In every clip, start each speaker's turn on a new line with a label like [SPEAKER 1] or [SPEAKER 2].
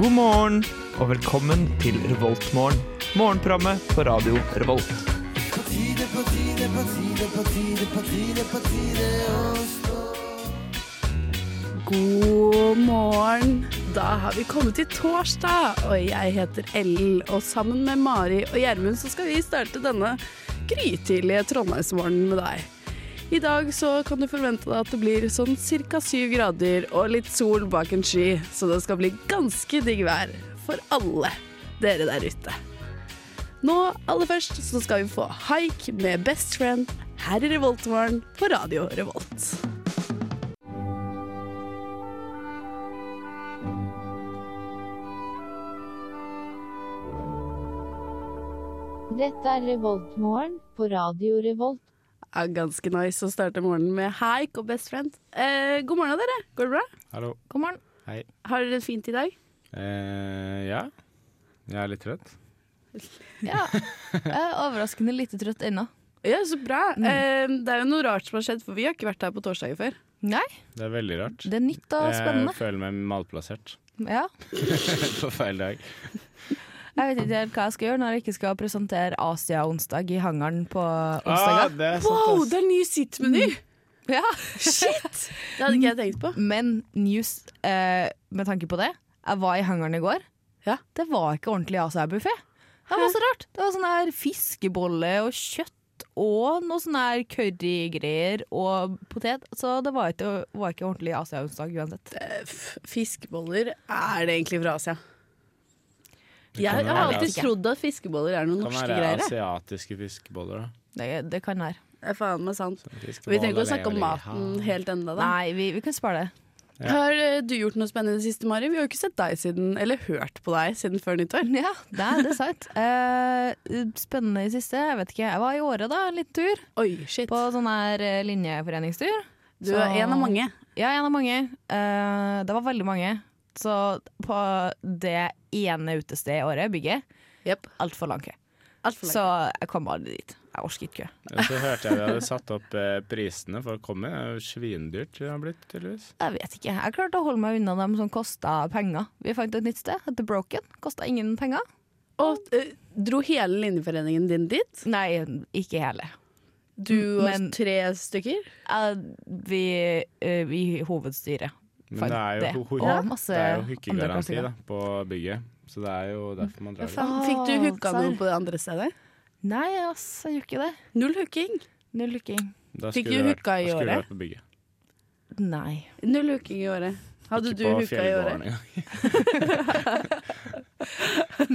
[SPEAKER 1] God morgen og velkommen til Revoltmorgen. Morgenprogrammet på radio Revolt.
[SPEAKER 2] God morgen. Da har vi kommet til torsdag, og jeg heter Ellen. Og sammen med Mari og Gjermund så skal vi starte denne grytidlige trondheimsmorgenen med deg. I dag så kan du forvente deg at det blir sånn ca. syv grader og litt sol bak en sky, så det skal bli ganske digg vær for alle dere der ute. Nå aller først så skal vi få Haik med Best Friend her i Revoltmorgen på Radio Revolt.
[SPEAKER 3] Dette er Revoltmorgen på Radio Revolt.
[SPEAKER 2] Ja, ganske nice å starte morgenen med Haik og Best Friend. Eh, god morgen, dere. Går det bra?
[SPEAKER 4] Hallo.
[SPEAKER 2] God morgen.
[SPEAKER 4] Hei.
[SPEAKER 2] Har dere det fint i dag?
[SPEAKER 4] Eh, ja. Jeg er litt trøtt.
[SPEAKER 5] Ja. Jeg er overraskende lite trøtt ennå.
[SPEAKER 2] Ja, så bra. Eh, det er jo noe rart som har skjedd, for vi har ikke vært her på torsdager før.
[SPEAKER 5] Nei,
[SPEAKER 4] Det er veldig rart.
[SPEAKER 5] det er nytt og spennende.
[SPEAKER 4] Jeg føler meg malplassert
[SPEAKER 5] Ja.
[SPEAKER 4] på feil dag.
[SPEAKER 5] Jeg vet ikke helt hva jeg skal gjøre når jeg ikke skal presentere Asia onsdag i hangaren på
[SPEAKER 4] Ah,
[SPEAKER 5] onsdager.
[SPEAKER 4] det er
[SPEAKER 2] Wow,
[SPEAKER 4] sant, ass.
[SPEAKER 2] det er ny sittmeny!
[SPEAKER 5] Ja.
[SPEAKER 2] Mm. Shit! Det hadde ikke jeg tenkt på.
[SPEAKER 5] Men news eh, med tanke på det. Jeg var i hangaren i går.
[SPEAKER 2] Ja.
[SPEAKER 5] Det var ikke ordentlig Asia-buffé. Det var så rart. Det var sånn her fiskebolle og kjøtt. Og noe sånn her currygreier og potet. Så det var ikke, var ikke ordentlig Asia-onsdag uansett.
[SPEAKER 2] Eh, f- Fiskeboller, er det egentlig fra Asia? Jeg, jeg
[SPEAKER 4] kan
[SPEAKER 2] har
[SPEAKER 4] være
[SPEAKER 2] alltid
[SPEAKER 5] Asia.
[SPEAKER 2] trodd at fiskeboller er noen
[SPEAKER 4] Kan
[SPEAKER 2] norske
[SPEAKER 4] være
[SPEAKER 2] greier. jeg.
[SPEAKER 4] asiatiske fiskeboller, da.
[SPEAKER 5] Det, det kan være.
[SPEAKER 2] Det er faen meg sant. Vi
[SPEAKER 4] Fiskeboller,
[SPEAKER 2] trenger ikke å snakke om
[SPEAKER 4] lever i
[SPEAKER 2] maten
[SPEAKER 4] hav.
[SPEAKER 2] helt enda da.
[SPEAKER 5] Nei, vi, vi kan spare det.
[SPEAKER 4] Ja.
[SPEAKER 2] Har eh, du gjort noe spennende det siste, Mari? Vi har jo ikke sett deg siden, eller hørt på deg siden før nyttår.
[SPEAKER 5] Ja, det er, det er sant. Eh, spennende i siste. Jeg vet ikke, jeg var i Åre, da. En liten tur.
[SPEAKER 2] Oi, shit.
[SPEAKER 5] På sånn her eh, linjeforeningstur.
[SPEAKER 2] Du er en av mange.
[SPEAKER 5] Ja, en av mange. Eh, det var veldig mange. Så på det ene utestedet i Åre, bygget,
[SPEAKER 2] Jepp.
[SPEAKER 5] altfor lang kø.
[SPEAKER 2] Altfor
[SPEAKER 5] Så jeg kom aldri dit. Jeg orker ikke kø.
[SPEAKER 4] Og Så hørte jeg de hadde satt opp eh, prisene for å komme. Det er jo svindyrt det har blitt, tydeligvis.
[SPEAKER 5] Jeg vet ikke. Jeg klarte å holde meg unna dem som kosta penger. Vi fant et nytt sted, heter Broken. Kosta ingen penger.
[SPEAKER 2] Og eh, dro hele linjeforeningen din dit?
[SPEAKER 5] Nei, ikke hele.
[SPEAKER 2] Du og
[SPEAKER 5] Men-
[SPEAKER 2] tre stykker?
[SPEAKER 5] Eh, vi eh, i hovedstyret.
[SPEAKER 4] Men det er jo,
[SPEAKER 5] Og
[SPEAKER 4] ja.
[SPEAKER 5] masse
[SPEAKER 4] det er jo
[SPEAKER 5] andre
[SPEAKER 4] hookegaranti
[SPEAKER 5] klassikere.
[SPEAKER 4] da, på bygget, så det er jo derfor man drar dit.
[SPEAKER 2] Faen, Fikk du hooka noen på det andre stedet?
[SPEAKER 5] Nei, ass, jeg gjorde ikke det.
[SPEAKER 2] Null hooking.
[SPEAKER 5] Null lykking.
[SPEAKER 4] Da
[SPEAKER 2] Fikk
[SPEAKER 4] skulle
[SPEAKER 2] du
[SPEAKER 4] det vært-
[SPEAKER 2] hooka i
[SPEAKER 4] da skulle det
[SPEAKER 2] året?
[SPEAKER 4] vært på bygget.
[SPEAKER 5] Nei.
[SPEAKER 2] Null hooking i året. Hadde
[SPEAKER 4] Ikke
[SPEAKER 2] du
[SPEAKER 4] på
[SPEAKER 2] hooka i
[SPEAKER 4] fjellgården
[SPEAKER 2] året?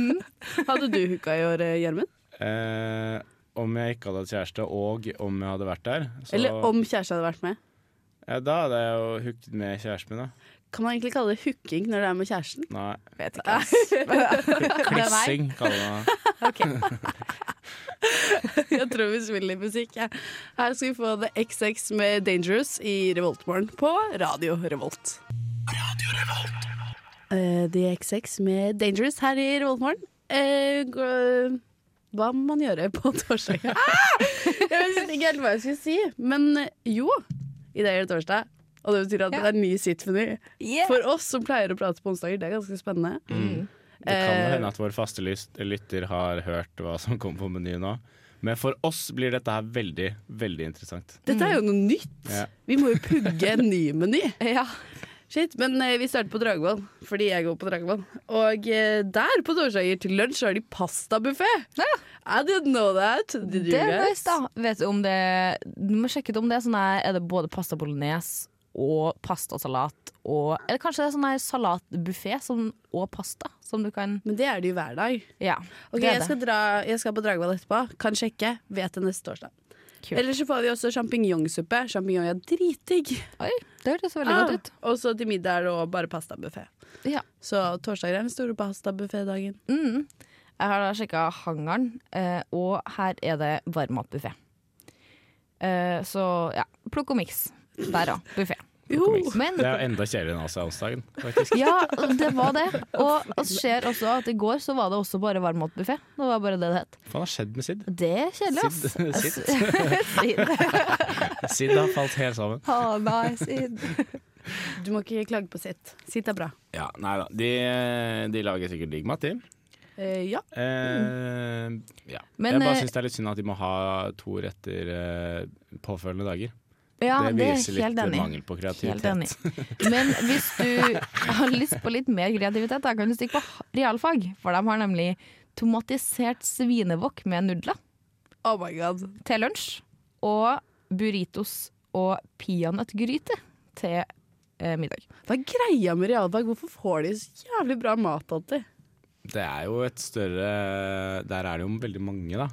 [SPEAKER 4] engang.
[SPEAKER 2] Hadde du hooka i året, Gjermund?
[SPEAKER 4] Eh, om jeg ikke hadde hatt kjæreste, og om jeg hadde vært der, så
[SPEAKER 2] Eller om kjæresten hadde vært med?
[SPEAKER 4] ja, Da hadde jeg jo hooket med kjæresten min, da.
[SPEAKER 2] Kan man egentlig kalle det hooking når det er med kjæresten?
[SPEAKER 4] Nei,
[SPEAKER 5] Vet ikke, ass. Klissing.
[SPEAKER 4] klissing kaller man det.
[SPEAKER 2] Jeg tror vi spiller litt musikk. jeg. Her skal vi få The XX med Dangerous i Revoltmorgen på Radio Revolt. Radio Revolt. The XX med Dangerous her i Revoltmorgen. Eh, gå- hva må man gjøre på torsdag? ah! Jeg vet ikke helt hva jeg skulle si. Men eh, jo, i dag er det torsdag. Og det betyr at det er ny sittmeny.
[SPEAKER 5] Yeah.
[SPEAKER 2] For oss som pleier å prate på onsdager, det er ganske spennende.
[SPEAKER 4] Det kan jo
[SPEAKER 2] Eh.
[SPEAKER 4] hende at vår faste lyst- lytter har hørt hva som kom på menyen nå. Men for oss blir dette her veldig, veldig interessant.
[SPEAKER 2] Dette er jo noe nytt.
[SPEAKER 4] Ja.
[SPEAKER 2] Vi må jo pugge en ny meny.
[SPEAKER 5] Ja.
[SPEAKER 2] Shit, men eh, vi starter på Dragvoll, fordi jeg går på Dragvoll. Og eh, der på torsdager til lunsj har de pastabuffé! I didn't know that. Did you
[SPEAKER 5] Det er
[SPEAKER 2] guys?
[SPEAKER 5] nice, da. Vet du om det Du må sjekke ut om det er sånn her Er det både pasta bolognese og pastasalat og Eller kanskje det er sånn her salatbuffé som- og pasta som du kan
[SPEAKER 2] Men det er det jo hver dag.
[SPEAKER 5] Ja.
[SPEAKER 2] Ok,
[SPEAKER 5] det er
[SPEAKER 2] jeg skal,
[SPEAKER 5] det.
[SPEAKER 2] dra, jeg skal på Dragvoll etterpå. Kan sjekke. Vet det neste torsdag.
[SPEAKER 5] Kult.
[SPEAKER 2] Ellers så får vi også sjampinjongsuppe. Sjampinjong er dritdigg.
[SPEAKER 5] Oi, det hørtes veldig
[SPEAKER 2] Ah,
[SPEAKER 5] godt ut.
[SPEAKER 2] og så til middag er det også bare pastabuffé.
[SPEAKER 5] Ja.
[SPEAKER 2] Så torsdager er den store pastabuffé-dagen.
[SPEAKER 5] Mm. Jeg har da sjekka hangaren, eh, og her er det varmmatbuffé. Eh, så ja, plukk og miks. Der, ja. Buffé.
[SPEAKER 2] Jo.
[SPEAKER 5] Men
[SPEAKER 4] Det er jo enda kjedeligere enn Asia-onsdagen, faktisk.
[SPEAKER 5] Ja, det var det. Og vi ser også at i går så var det også bare varmmatbuffé. Det var bare det det het.
[SPEAKER 4] Hva faen har skjedd med Sid?
[SPEAKER 5] Det er kjedelig, ass.
[SPEAKER 4] Sid, Sid.
[SPEAKER 5] Sid.
[SPEAKER 4] Sid har falt helt sammen.
[SPEAKER 5] Ha, nei, Sid.
[SPEAKER 2] Du må ikke klage på sitt. Sitt er bra.
[SPEAKER 4] Ja, nei da. De, de lager sikkert digg mat, de.
[SPEAKER 2] Eh, ja.
[SPEAKER 4] Eh, ja.
[SPEAKER 5] Men,
[SPEAKER 4] jeg bare
[SPEAKER 5] eh,
[SPEAKER 4] syns det er litt synd at de må ha to retter eh, påfølgende dager.
[SPEAKER 5] eh, Ja,
[SPEAKER 4] det
[SPEAKER 5] det er
[SPEAKER 4] viser litt
[SPEAKER 5] helt enig.
[SPEAKER 4] mangel på
[SPEAKER 5] Helt
[SPEAKER 4] kreativitet.
[SPEAKER 5] enig. Men hvis du har lyst på litt mer kreativitet, da kan du stikke på realfag. For de har nemlig tomatisert svinewok med nudler
[SPEAKER 2] Oh my god.
[SPEAKER 5] til lunsj. Og burritos og peanøttgryte til eh, middag.
[SPEAKER 2] Hva er greia med realfag? Hvorfor får de så jævlig bra mat alltid?
[SPEAKER 4] Det er jo et større Der er det jo veldig mange, da.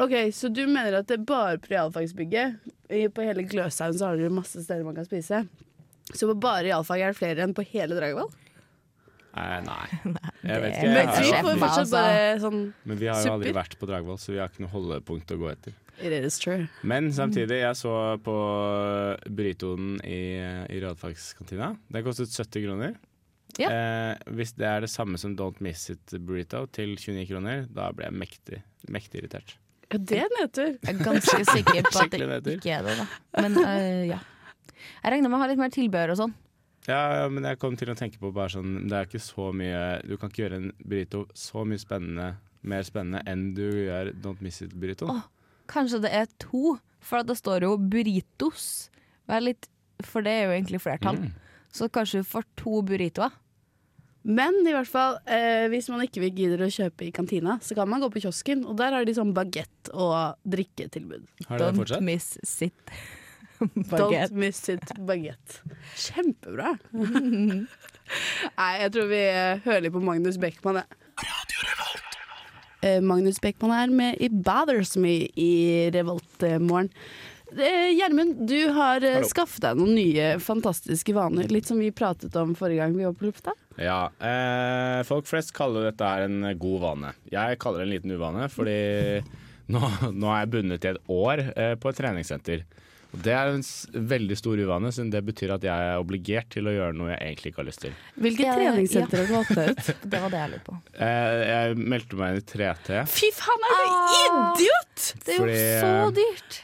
[SPEAKER 2] Ok, Så du mener at det er bare på realfagsbygget? I- På hele Gløshaugen så har dere masse steder man kan spise. Så på bare realfag er det flere enn på hele Dragvoll?
[SPEAKER 4] Eh, nei. Jeg vet ikke.
[SPEAKER 2] Men vi
[SPEAKER 4] Jeg
[SPEAKER 5] er jo
[SPEAKER 4] har
[SPEAKER 2] får
[SPEAKER 5] sjef,
[SPEAKER 4] jo aldri,
[SPEAKER 2] fortsatt
[SPEAKER 5] altså.
[SPEAKER 2] bare sånn
[SPEAKER 4] men vi har jo aldri
[SPEAKER 2] supper.
[SPEAKER 4] vært på Dragvoll, så vi har ikke noe holdepunkt å gå etter.
[SPEAKER 2] It is true.
[SPEAKER 4] Men samtidig, jeg så på burritoen i, i realfagskantina. Den kostet 70 kroner.
[SPEAKER 5] Ja.
[SPEAKER 4] Eh, hvis det er det samme som Don't Miss It burrito til 29 kroner, da blir jeg mektig, mektig irritert.
[SPEAKER 2] Ja, det er en nedtur.
[SPEAKER 5] Jeg er ganske sikker på at det
[SPEAKER 4] Skikkelig nedtur.
[SPEAKER 5] ikke er det, da. Men eh, ja. Jeg regner med å ha litt mer tilbehør og sånn.
[SPEAKER 4] Ja, men jeg kom til å tenke på bare sånn Det er ikke så mye Du kan ikke gjøre en burrito så mye spennende mer spennende enn du gjør Don't Miss It-burritoen.
[SPEAKER 5] Åh. Kanskje det er to, for det står jo burritos. Vær litt, for det er jo egentlig flertall.
[SPEAKER 4] Mm.
[SPEAKER 5] Så kanskje du får to burritoer.
[SPEAKER 2] Men i hvert fall, eh, hvis man ikke vil gidder å kjøpe i kantina, så kan man gå på kiosken, og der har de sånn bagett og drikketilbud.
[SPEAKER 4] Har det
[SPEAKER 5] Don't
[SPEAKER 4] fortsatt?
[SPEAKER 5] miss sit.
[SPEAKER 2] Don't
[SPEAKER 5] Baguette.
[SPEAKER 2] miss it bagett. Kjempebra. Nei, jeg tror vi eh, hører litt på Magnus Beckmann, jeg. Eh, Magnus Beckmann er med i Bothers Me i Revolt-morgen. Eh, Gjermund, du har eh,
[SPEAKER 4] Hallo.
[SPEAKER 2] skaffet deg noen nye fantastiske vaner. Litt som vi pratet om forrige gang vi var på lufta.
[SPEAKER 4] Ja. Eh, folk flest kaller dette her en god vane. Jeg kaller det en liten uvane, fordi nå, nå er jeg bundet i et år eh, på et treningssenter. Og Det er en s veldig stor uvane, siden det betyr at jeg er obligert til å gjøre noe jeg egentlig ikke har lyst til.
[SPEAKER 2] Hvilket
[SPEAKER 5] Ja, ja.
[SPEAKER 2] treningssenter har du valgt deg ut?
[SPEAKER 5] Det var det jeg lurte på.
[SPEAKER 4] Eh, jeg meldte meg inn i 3T.
[SPEAKER 2] Fy faen, er du
[SPEAKER 5] Ah.
[SPEAKER 2] idiot?!
[SPEAKER 5] Det er jo
[SPEAKER 4] Fordi- eh,
[SPEAKER 5] så dyrt!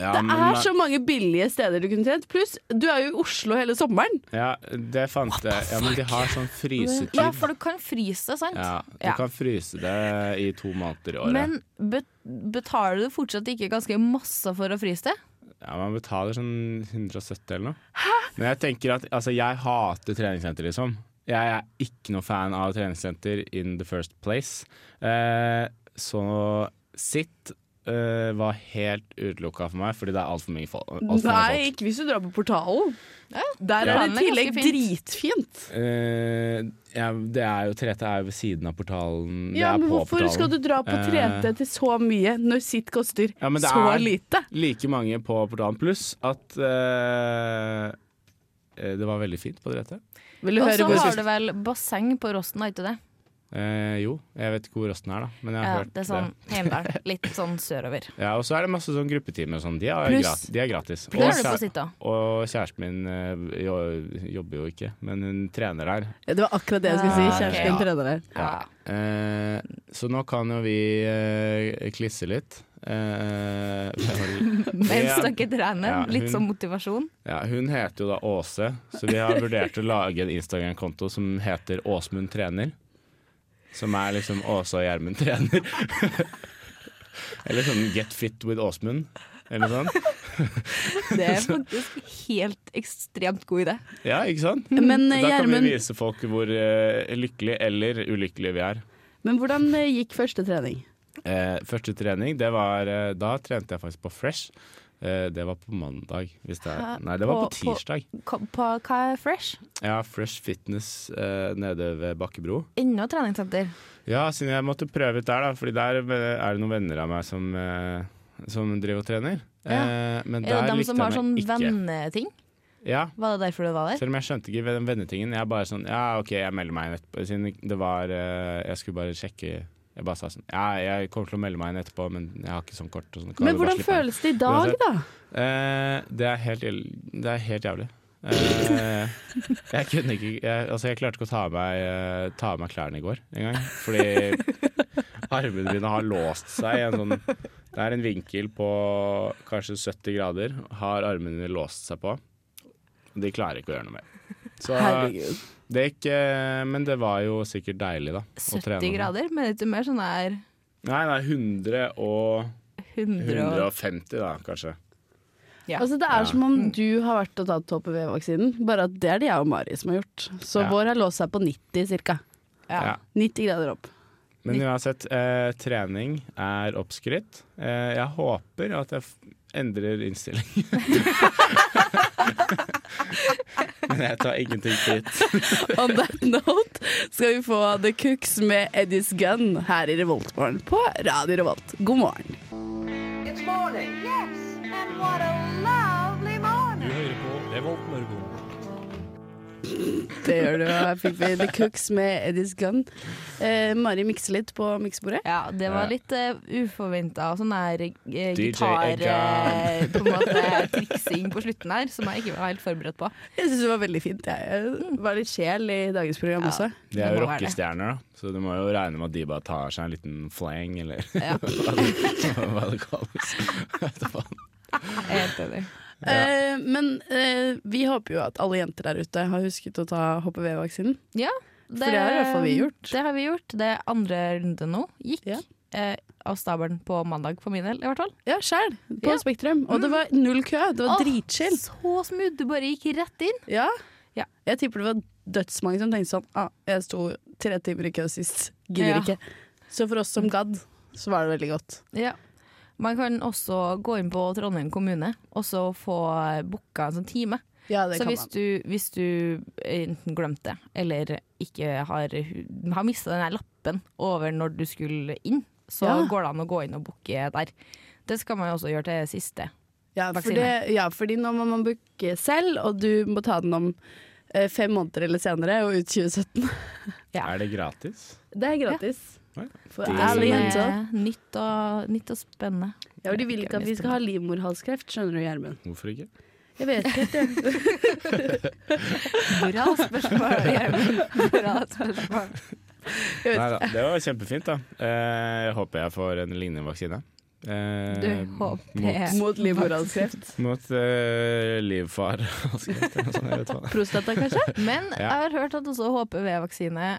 [SPEAKER 4] Ja,
[SPEAKER 2] Det
[SPEAKER 4] men- eh,
[SPEAKER 2] er så mange billige steder du kunne trent. Pluss, du er jo i Oslo hele sommeren.
[SPEAKER 4] Ja, det fant jeg. Ja, men de har sånn frysetid.
[SPEAKER 5] Ja, for du kan fryse, sant?
[SPEAKER 4] Ja, du
[SPEAKER 5] Ja.
[SPEAKER 4] kan fryse det i to måneder i året.
[SPEAKER 5] Men bet betaler du fortsatt ikke ganske masse for å fryse det?
[SPEAKER 4] ja, man betaler sånn 170 eller noe. Men jeg tenker at altså, jeg hater treningssenter, liksom. Jeg er ikke noe fan av treningssenter in the first place. Eh, så sitt eh, var helt utelukka for meg, fordi det er altfor mye fol- alt for mange folk.
[SPEAKER 2] Nei, ikke hvis du drar på Portalen. Der er
[SPEAKER 5] Ja.
[SPEAKER 2] det i tillegg
[SPEAKER 5] Ganske
[SPEAKER 2] dritfint.
[SPEAKER 4] Eh, ja, det er jo 3T er jo ved siden av portalen.
[SPEAKER 2] Ja,
[SPEAKER 4] det er
[SPEAKER 2] men
[SPEAKER 4] på
[SPEAKER 2] hvorfor
[SPEAKER 4] portalen.
[SPEAKER 2] skal du dra på 3T
[SPEAKER 4] Eh,
[SPEAKER 2] til så mye når sitt koster
[SPEAKER 4] Ja, men det
[SPEAKER 2] så
[SPEAKER 4] er-
[SPEAKER 2] lite?
[SPEAKER 4] like mange på portalen, pluss at eh, eh, det var veldig fint på dette.
[SPEAKER 2] Vil du
[SPEAKER 5] Og
[SPEAKER 2] høre
[SPEAKER 5] så
[SPEAKER 2] hvor
[SPEAKER 5] har du vel basseng på Rosten, har ikke du det?
[SPEAKER 4] Eh, jo, jeg vet ikke hvor Rosten er, da, men jeg har
[SPEAKER 5] Ja,
[SPEAKER 4] hørt
[SPEAKER 5] det er sånn Heimdal. Litt sånn sørover.
[SPEAKER 4] Ja, og så er det masse sånn gruppetimer og sånn. De er,
[SPEAKER 5] Pluss-
[SPEAKER 4] gratis, de er gratis.
[SPEAKER 5] Det har du
[SPEAKER 4] kjære-
[SPEAKER 5] på sitt òg.
[SPEAKER 4] og kjæresten min eh, jo- jobber jo ikke, men hun trener her.
[SPEAKER 2] Ja, Det var akkurat det jeg skulle si.
[SPEAKER 5] Ja,
[SPEAKER 2] Kjæresten din
[SPEAKER 4] ok.
[SPEAKER 2] trener her.
[SPEAKER 5] Ja.
[SPEAKER 4] Eh, så nå kan jo vi eh, klisse litt. Eh,
[SPEAKER 5] Mens
[SPEAKER 4] Ja.
[SPEAKER 5] dere trener.
[SPEAKER 4] Ja,
[SPEAKER 5] Litt
[SPEAKER 4] hun-
[SPEAKER 5] sånn motivasjon.
[SPEAKER 4] Ja, hun heter jo da Åse, så vi har vurdert å lage en Instagram-konto som heter Åsmund trener. Som er liksom Åse og Gjermund trener. Eller sånn Get fit with Åsmund, eller sånn.
[SPEAKER 5] Det er faktisk helt ekstremt god idé.
[SPEAKER 4] Ja, ikke sant?
[SPEAKER 2] Men eh,
[SPEAKER 4] Da kan vi
[SPEAKER 2] Gjermund,
[SPEAKER 4] vise folk hvor eh, lykkelige eller ulykkelige vi er.
[SPEAKER 2] men hvordan eh, gikk første trening?
[SPEAKER 4] Eh, første trening, det var eh, Da trente jeg faktisk på Fresh. Eh, det var på mandag. Hvis det er,
[SPEAKER 5] Hæ?
[SPEAKER 4] nei, det var på
[SPEAKER 5] På- på-
[SPEAKER 4] tirsdag.
[SPEAKER 5] Hva- på- Hva er fresh?
[SPEAKER 4] Ja, Fresh Fitness eh, nede ved Bakkebro.
[SPEAKER 5] Enda treningssenter.
[SPEAKER 4] Ja, siden jeg måtte prøve ut der, da. Fordi der er det noen venner av meg som, eh, som driver og trener. Eh, men
[SPEAKER 5] Er det
[SPEAKER 4] der
[SPEAKER 5] dem
[SPEAKER 4] likte
[SPEAKER 5] som har
[SPEAKER 4] jeg
[SPEAKER 5] sånn
[SPEAKER 4] meg ikke.
[SPEAKER 5] venneting?
[SPEAKER 4] Ja,
[SPEAKER 5] Var det derfor du var der?
[SPEAKER 4] selv om jeg skjønte ikke den vennetingen. Jeg bare sånn Ja, OK, jeg melder meg inn etterpå. Siden det var eh, Jeg skulle bare sjekke Jeg bare sa sånn Ja, jeg kommer til å melde meg inn etterpå, men jeg har ikke sånn kort. Og sånn. Kan
[SPEAKER 2] Men
[SPEAKER 4] du bare
[SPEAKER 2] hvordan
[SPEAKER 4] slippe meg inn?»
[SPEAKER 2] føles det i dag, da?
[SPEAKER 4] Eh, det er helt, ill- det er helt jævlig. Eh, jeg kunne ikke jeg, Altså, jeg klarte ikke å ta av meg, eh, ta av meg klærne i går engang. Fordi armene mine har låst seg i en sånn Det er en vinkel på kanskje 70 grader. Har armene mine låst seg på. De klarer ikke å gjøre noe mer. Så
[SPEAKER 2] Herregud.
[SPEAKER 4] det gikk eh, Men det var jo sikkert deilig, da. å trene
[SPEAKER 5] 70
[SPEAKER 4] med.
[SPEAKER 5] grader, men litt mer sånn er
[SPEAKER 4] Nei, nei, 100 og
[SPEAKER 5] 100 og
[SPEAKER 4] 150, da, kanskje.
[SPEAKER 5] Ja.
[SPEAKER 2] Altså, det er som om du har vært og tatt HPV-vaksinen, bare at det er det jeg og Mari som har gjort. Så
[SPEAKER 4] Ja.
[SPEAKER 2] vår har låst seg på 90 ca.
[SPEAKER 5] Ja.
[SPEAKER 4] Ja.
[SPEAKER 2] 90 grader opp.
[SPEAKER 4] Men uansett, eh, trening er oppskrytt. Eh, jeg håper at jeg f endrer innstilling. Men jeg tar ingenting dit.
[SPEAKER 2] On that note skal vi få The Cooks med Eddie's Gun her i Revoltmorgen på Radio Revolt. God morgen.
[SPEAKER 6] It's morning. Yes, and what a lovely morning.
[SPEAKER 2] Det gjør du. Her fikk vi The Cooks med Eddie's Gun. Eh, Mari mikser litt på miksebordet.
[SPEAKER 5] Ja, det var litt uh, uforventa sånn der eh,
[SPEAKER 4] DJ
[SPEAKER 5] gitar eh,
[SPEAKER 4] Eggan.
[SPEAKER 5] på en måte triksing på slutten her, som jeg ikke var helt forberedt på.
[SPEAKER 2] Jeg syns det var veldig fint. Jeg Eh, var litt sjel i dagens program
[SPEAKER 5] Ja.
[SPEAKER 2] også.
[SPEAKER 4] De er jo
[SPEAKER 5] Det må være det.
[SPEAKER 4] rockestjerner, da, så du må jo regne med at de bare tar seg en liten flang, eller
[SPEAKER 5] Ja.
[SPEAKER 4] hva det- hva det kalles. Jeg vet da faen.
[SPEAKER 5] Jeg er Helt enig.
[SPEAKER 2] Eh, men eh, vi håper jo at alle jenter der ute har husket å ta HPV-vaksinen.
[SPEAKER 5] Ja,
[SPEAKER 2] For det har i hvert fall vi gjort.
[SPEAKER 5] Det har vi gjort. Det er andre runde nå gikk
[SPEAKER 2] Ja.
[SPEAKER 5] eh, av stabelen på mandag, for min del i hvert fall.
[SPEAKER 2] Ja, Mm. sjæl. På
[SPEAKER 5] Ja.
[SPEAKER 2] Spektrum. Og det var null kø. Det var
[SPEAKER 5] Åh,
[SPEAKER 2] dritchill.
[SPEAKER 5] Så smooth, du bare gikk rett inn.
[SPEAKER 2] Ja.
[SPEAKER 5] Ja.
[SPEAKER 2] Jeg tipper det var dødsmange som tenkte sånn ah, Jeg sto tre timer i kø sist, gidder
[SPEAKER 5] Ja.
[SPEAKER 2] ikke. Så for oss som gadd, så var det veldig godt.
[SPEAKER 5] Man kan også gå inn på Trondheim kommune og så få eh, booka en sånn time.
[SPEAKER 2] Ja,
[SPEAKER 5] Så hvis du, hvis du enten glemte eller ikke har, har mista den her lappen over når du skulle inn, så
[SPEAKER 2] Ja.
[SPEAKER 5] går det an å gå inn og booke der. Det skal man jo også gjøre til siste.
[SPEAKER 2] ja, for
[SPEAKER 5] vaksine.
[SPEAKER 2] det, ja, fordi nå må man booke selv, og du må ta den om eh, fem måneder eller senere, og ut 2017.
[SPEAKER 5] Ja.
[SPEAKER 4] Er det gratis?
[SPEAKER 2] Det er gratis.
[SPEAKER 4] Ja.
[SPEAKER 2] For
[SPEAKER 4] Det er
[SPEAKER 2] alle
[SPEAKER 4] sånn,
[SPEAKER 2] jenter.
[SPEAKER 5] Eh, Nytt og, nytt og spennende.
[SPEAKER 2] Ja, for de vil ikke at vi skal ha livmorhalskreft, skjønner du, Gjermund.
[SPEAKER 4] Hvorfor ikke?
[SPEAKER 2] Jeg vet ikke.
[SPEAKER 5] Bra spørsmål, Gjermund. Bra spørsmål.
[SPEAKER 2] Jeg vet
[SPEAKER 4] Nei da, det var kjempefint, da. Eh, jeg håper jeg får en lignende vaksine. Eh,
[SPEAKER 5] Du håper
[SPEAKER 4] mot-
[SPEAKER 5] jeg-
[SPEAKER 2] Mot livmorhalskrevt.
[SPEAKER 4] Mot eh, livfar. Skal jeg si noe sånt, jeg vet hva.
[SPEAKER 2] Prostata, kanskje?
[SPEAKER 5] Men
[SPEAKER 4] Ja.
[SPEAKER 5] jeg har hørt at også HPV-vaksine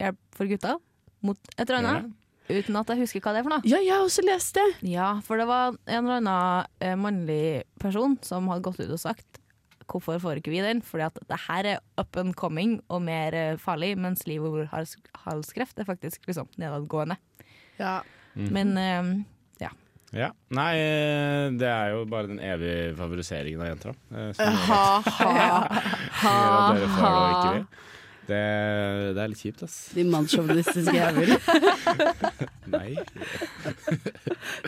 [SPEAKER 5] hjelper for gutta mot et eller annet. Uten at jeg husker hva det er for noe.
[SPEAKER 2] Ja, jeg har også lest det.
[SPEAKER 5] Ja, for det var en eller annen eh, mannlig person som hadde gått ut og sagt Hvorfor får ikke vi den? Fordi at det her er up and coming og mer eh, farlig, mens livmorhalskreft er faktisk liksom nedadgående.
[SPEAKER 2] Ja.
[SPEAKER 4] Mhm.
[SPEAKER 5] Men eh,
[SPEAKER 4] Ja. Nei, eh, det er jo bare den evige favoriseringen av jenter. da. Eh, som gjør
[SPEAKER 2] Ha-ha.
[SPEAKER 4] at dere får det og ikke
[SPEAKER 2] Ha-ha.
[SPEAKER 4] vi. Det, det er litt kjipt, ass.
[SPEAKER 2] De mannssjåvinistiske jævel.
[SPEAKER 4] Nei.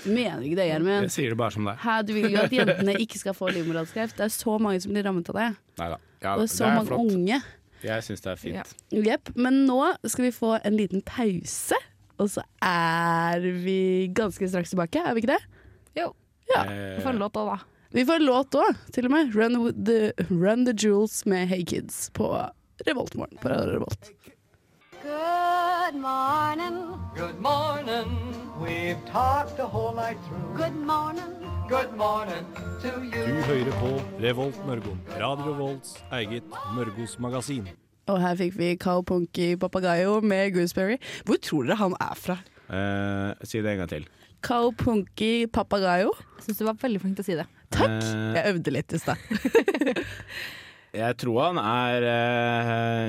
[SPEAKER 2] Mener ikke det,
[SPEAKER 4] Jeg
[SPEAKER 2] Gjermund.
[SPEAKER 4] sier det bare som det er.
[SPEAKER 2] Hæ, du vil jo at jentene ikke skal få livmorhalskreft. Det er så mange som blir rammet av det.
[SPEAKER 4] Nei da. Ja,
[SPEAKER 2] Og det er så mange unge.
[SPEAKER 4] Jeg syns det er
[SPEAKER 5] Ja.
[SPEAKER 4] fint.
[SPEAKER 2] Jepp. Men nå skal vi få en liten pause, og så er vi ganske straks tilbake, er vi ikke det?
[SPEAKER 5] jo,
[SPEAKER 2] Ja.
[SPEAKER 5] vi får en
[SPEAKER 4] Eh,
[SPEAKER 5] låt òg, da.
[SPEAKER 2] Vi får en låt òg, til og med. Run with the, Run the Jewels med Hey Kids på Revoltmorgen. På Radio Revolt.
[SPEAKER 6] Good morning.
[SPEAKER 7] Good morning. We've talked the whole night through.
[SPEAKER 6] Good morning.
[SPEAKER 7] Good morning to
[SPEAKER 4] Eh,
[SPEAKER 8] Du
[SPEAKER 7] you.
[SPEAKER 8] hører på Revolt Mørgo. Radio Volts eget Mørgos magasin.
[SPEAKER 2] Og her fikk vi Carl Punky Papagayo med Gooseberry. Hvor tror dere han er fra?
[SPEAKER 4] eh, si det en gang til.
[SPEAKER 2] Carl Punky Papagayo?
[SPEAKER 5] Jeg syns du var veldig flink til å si det.
[SPEAKER 2] Takk!
[SPEAKER 4] Eh,
[SPEAKER 2] Jeg øvde litt i stad.
[SPEAKER 4] Jeg tror han er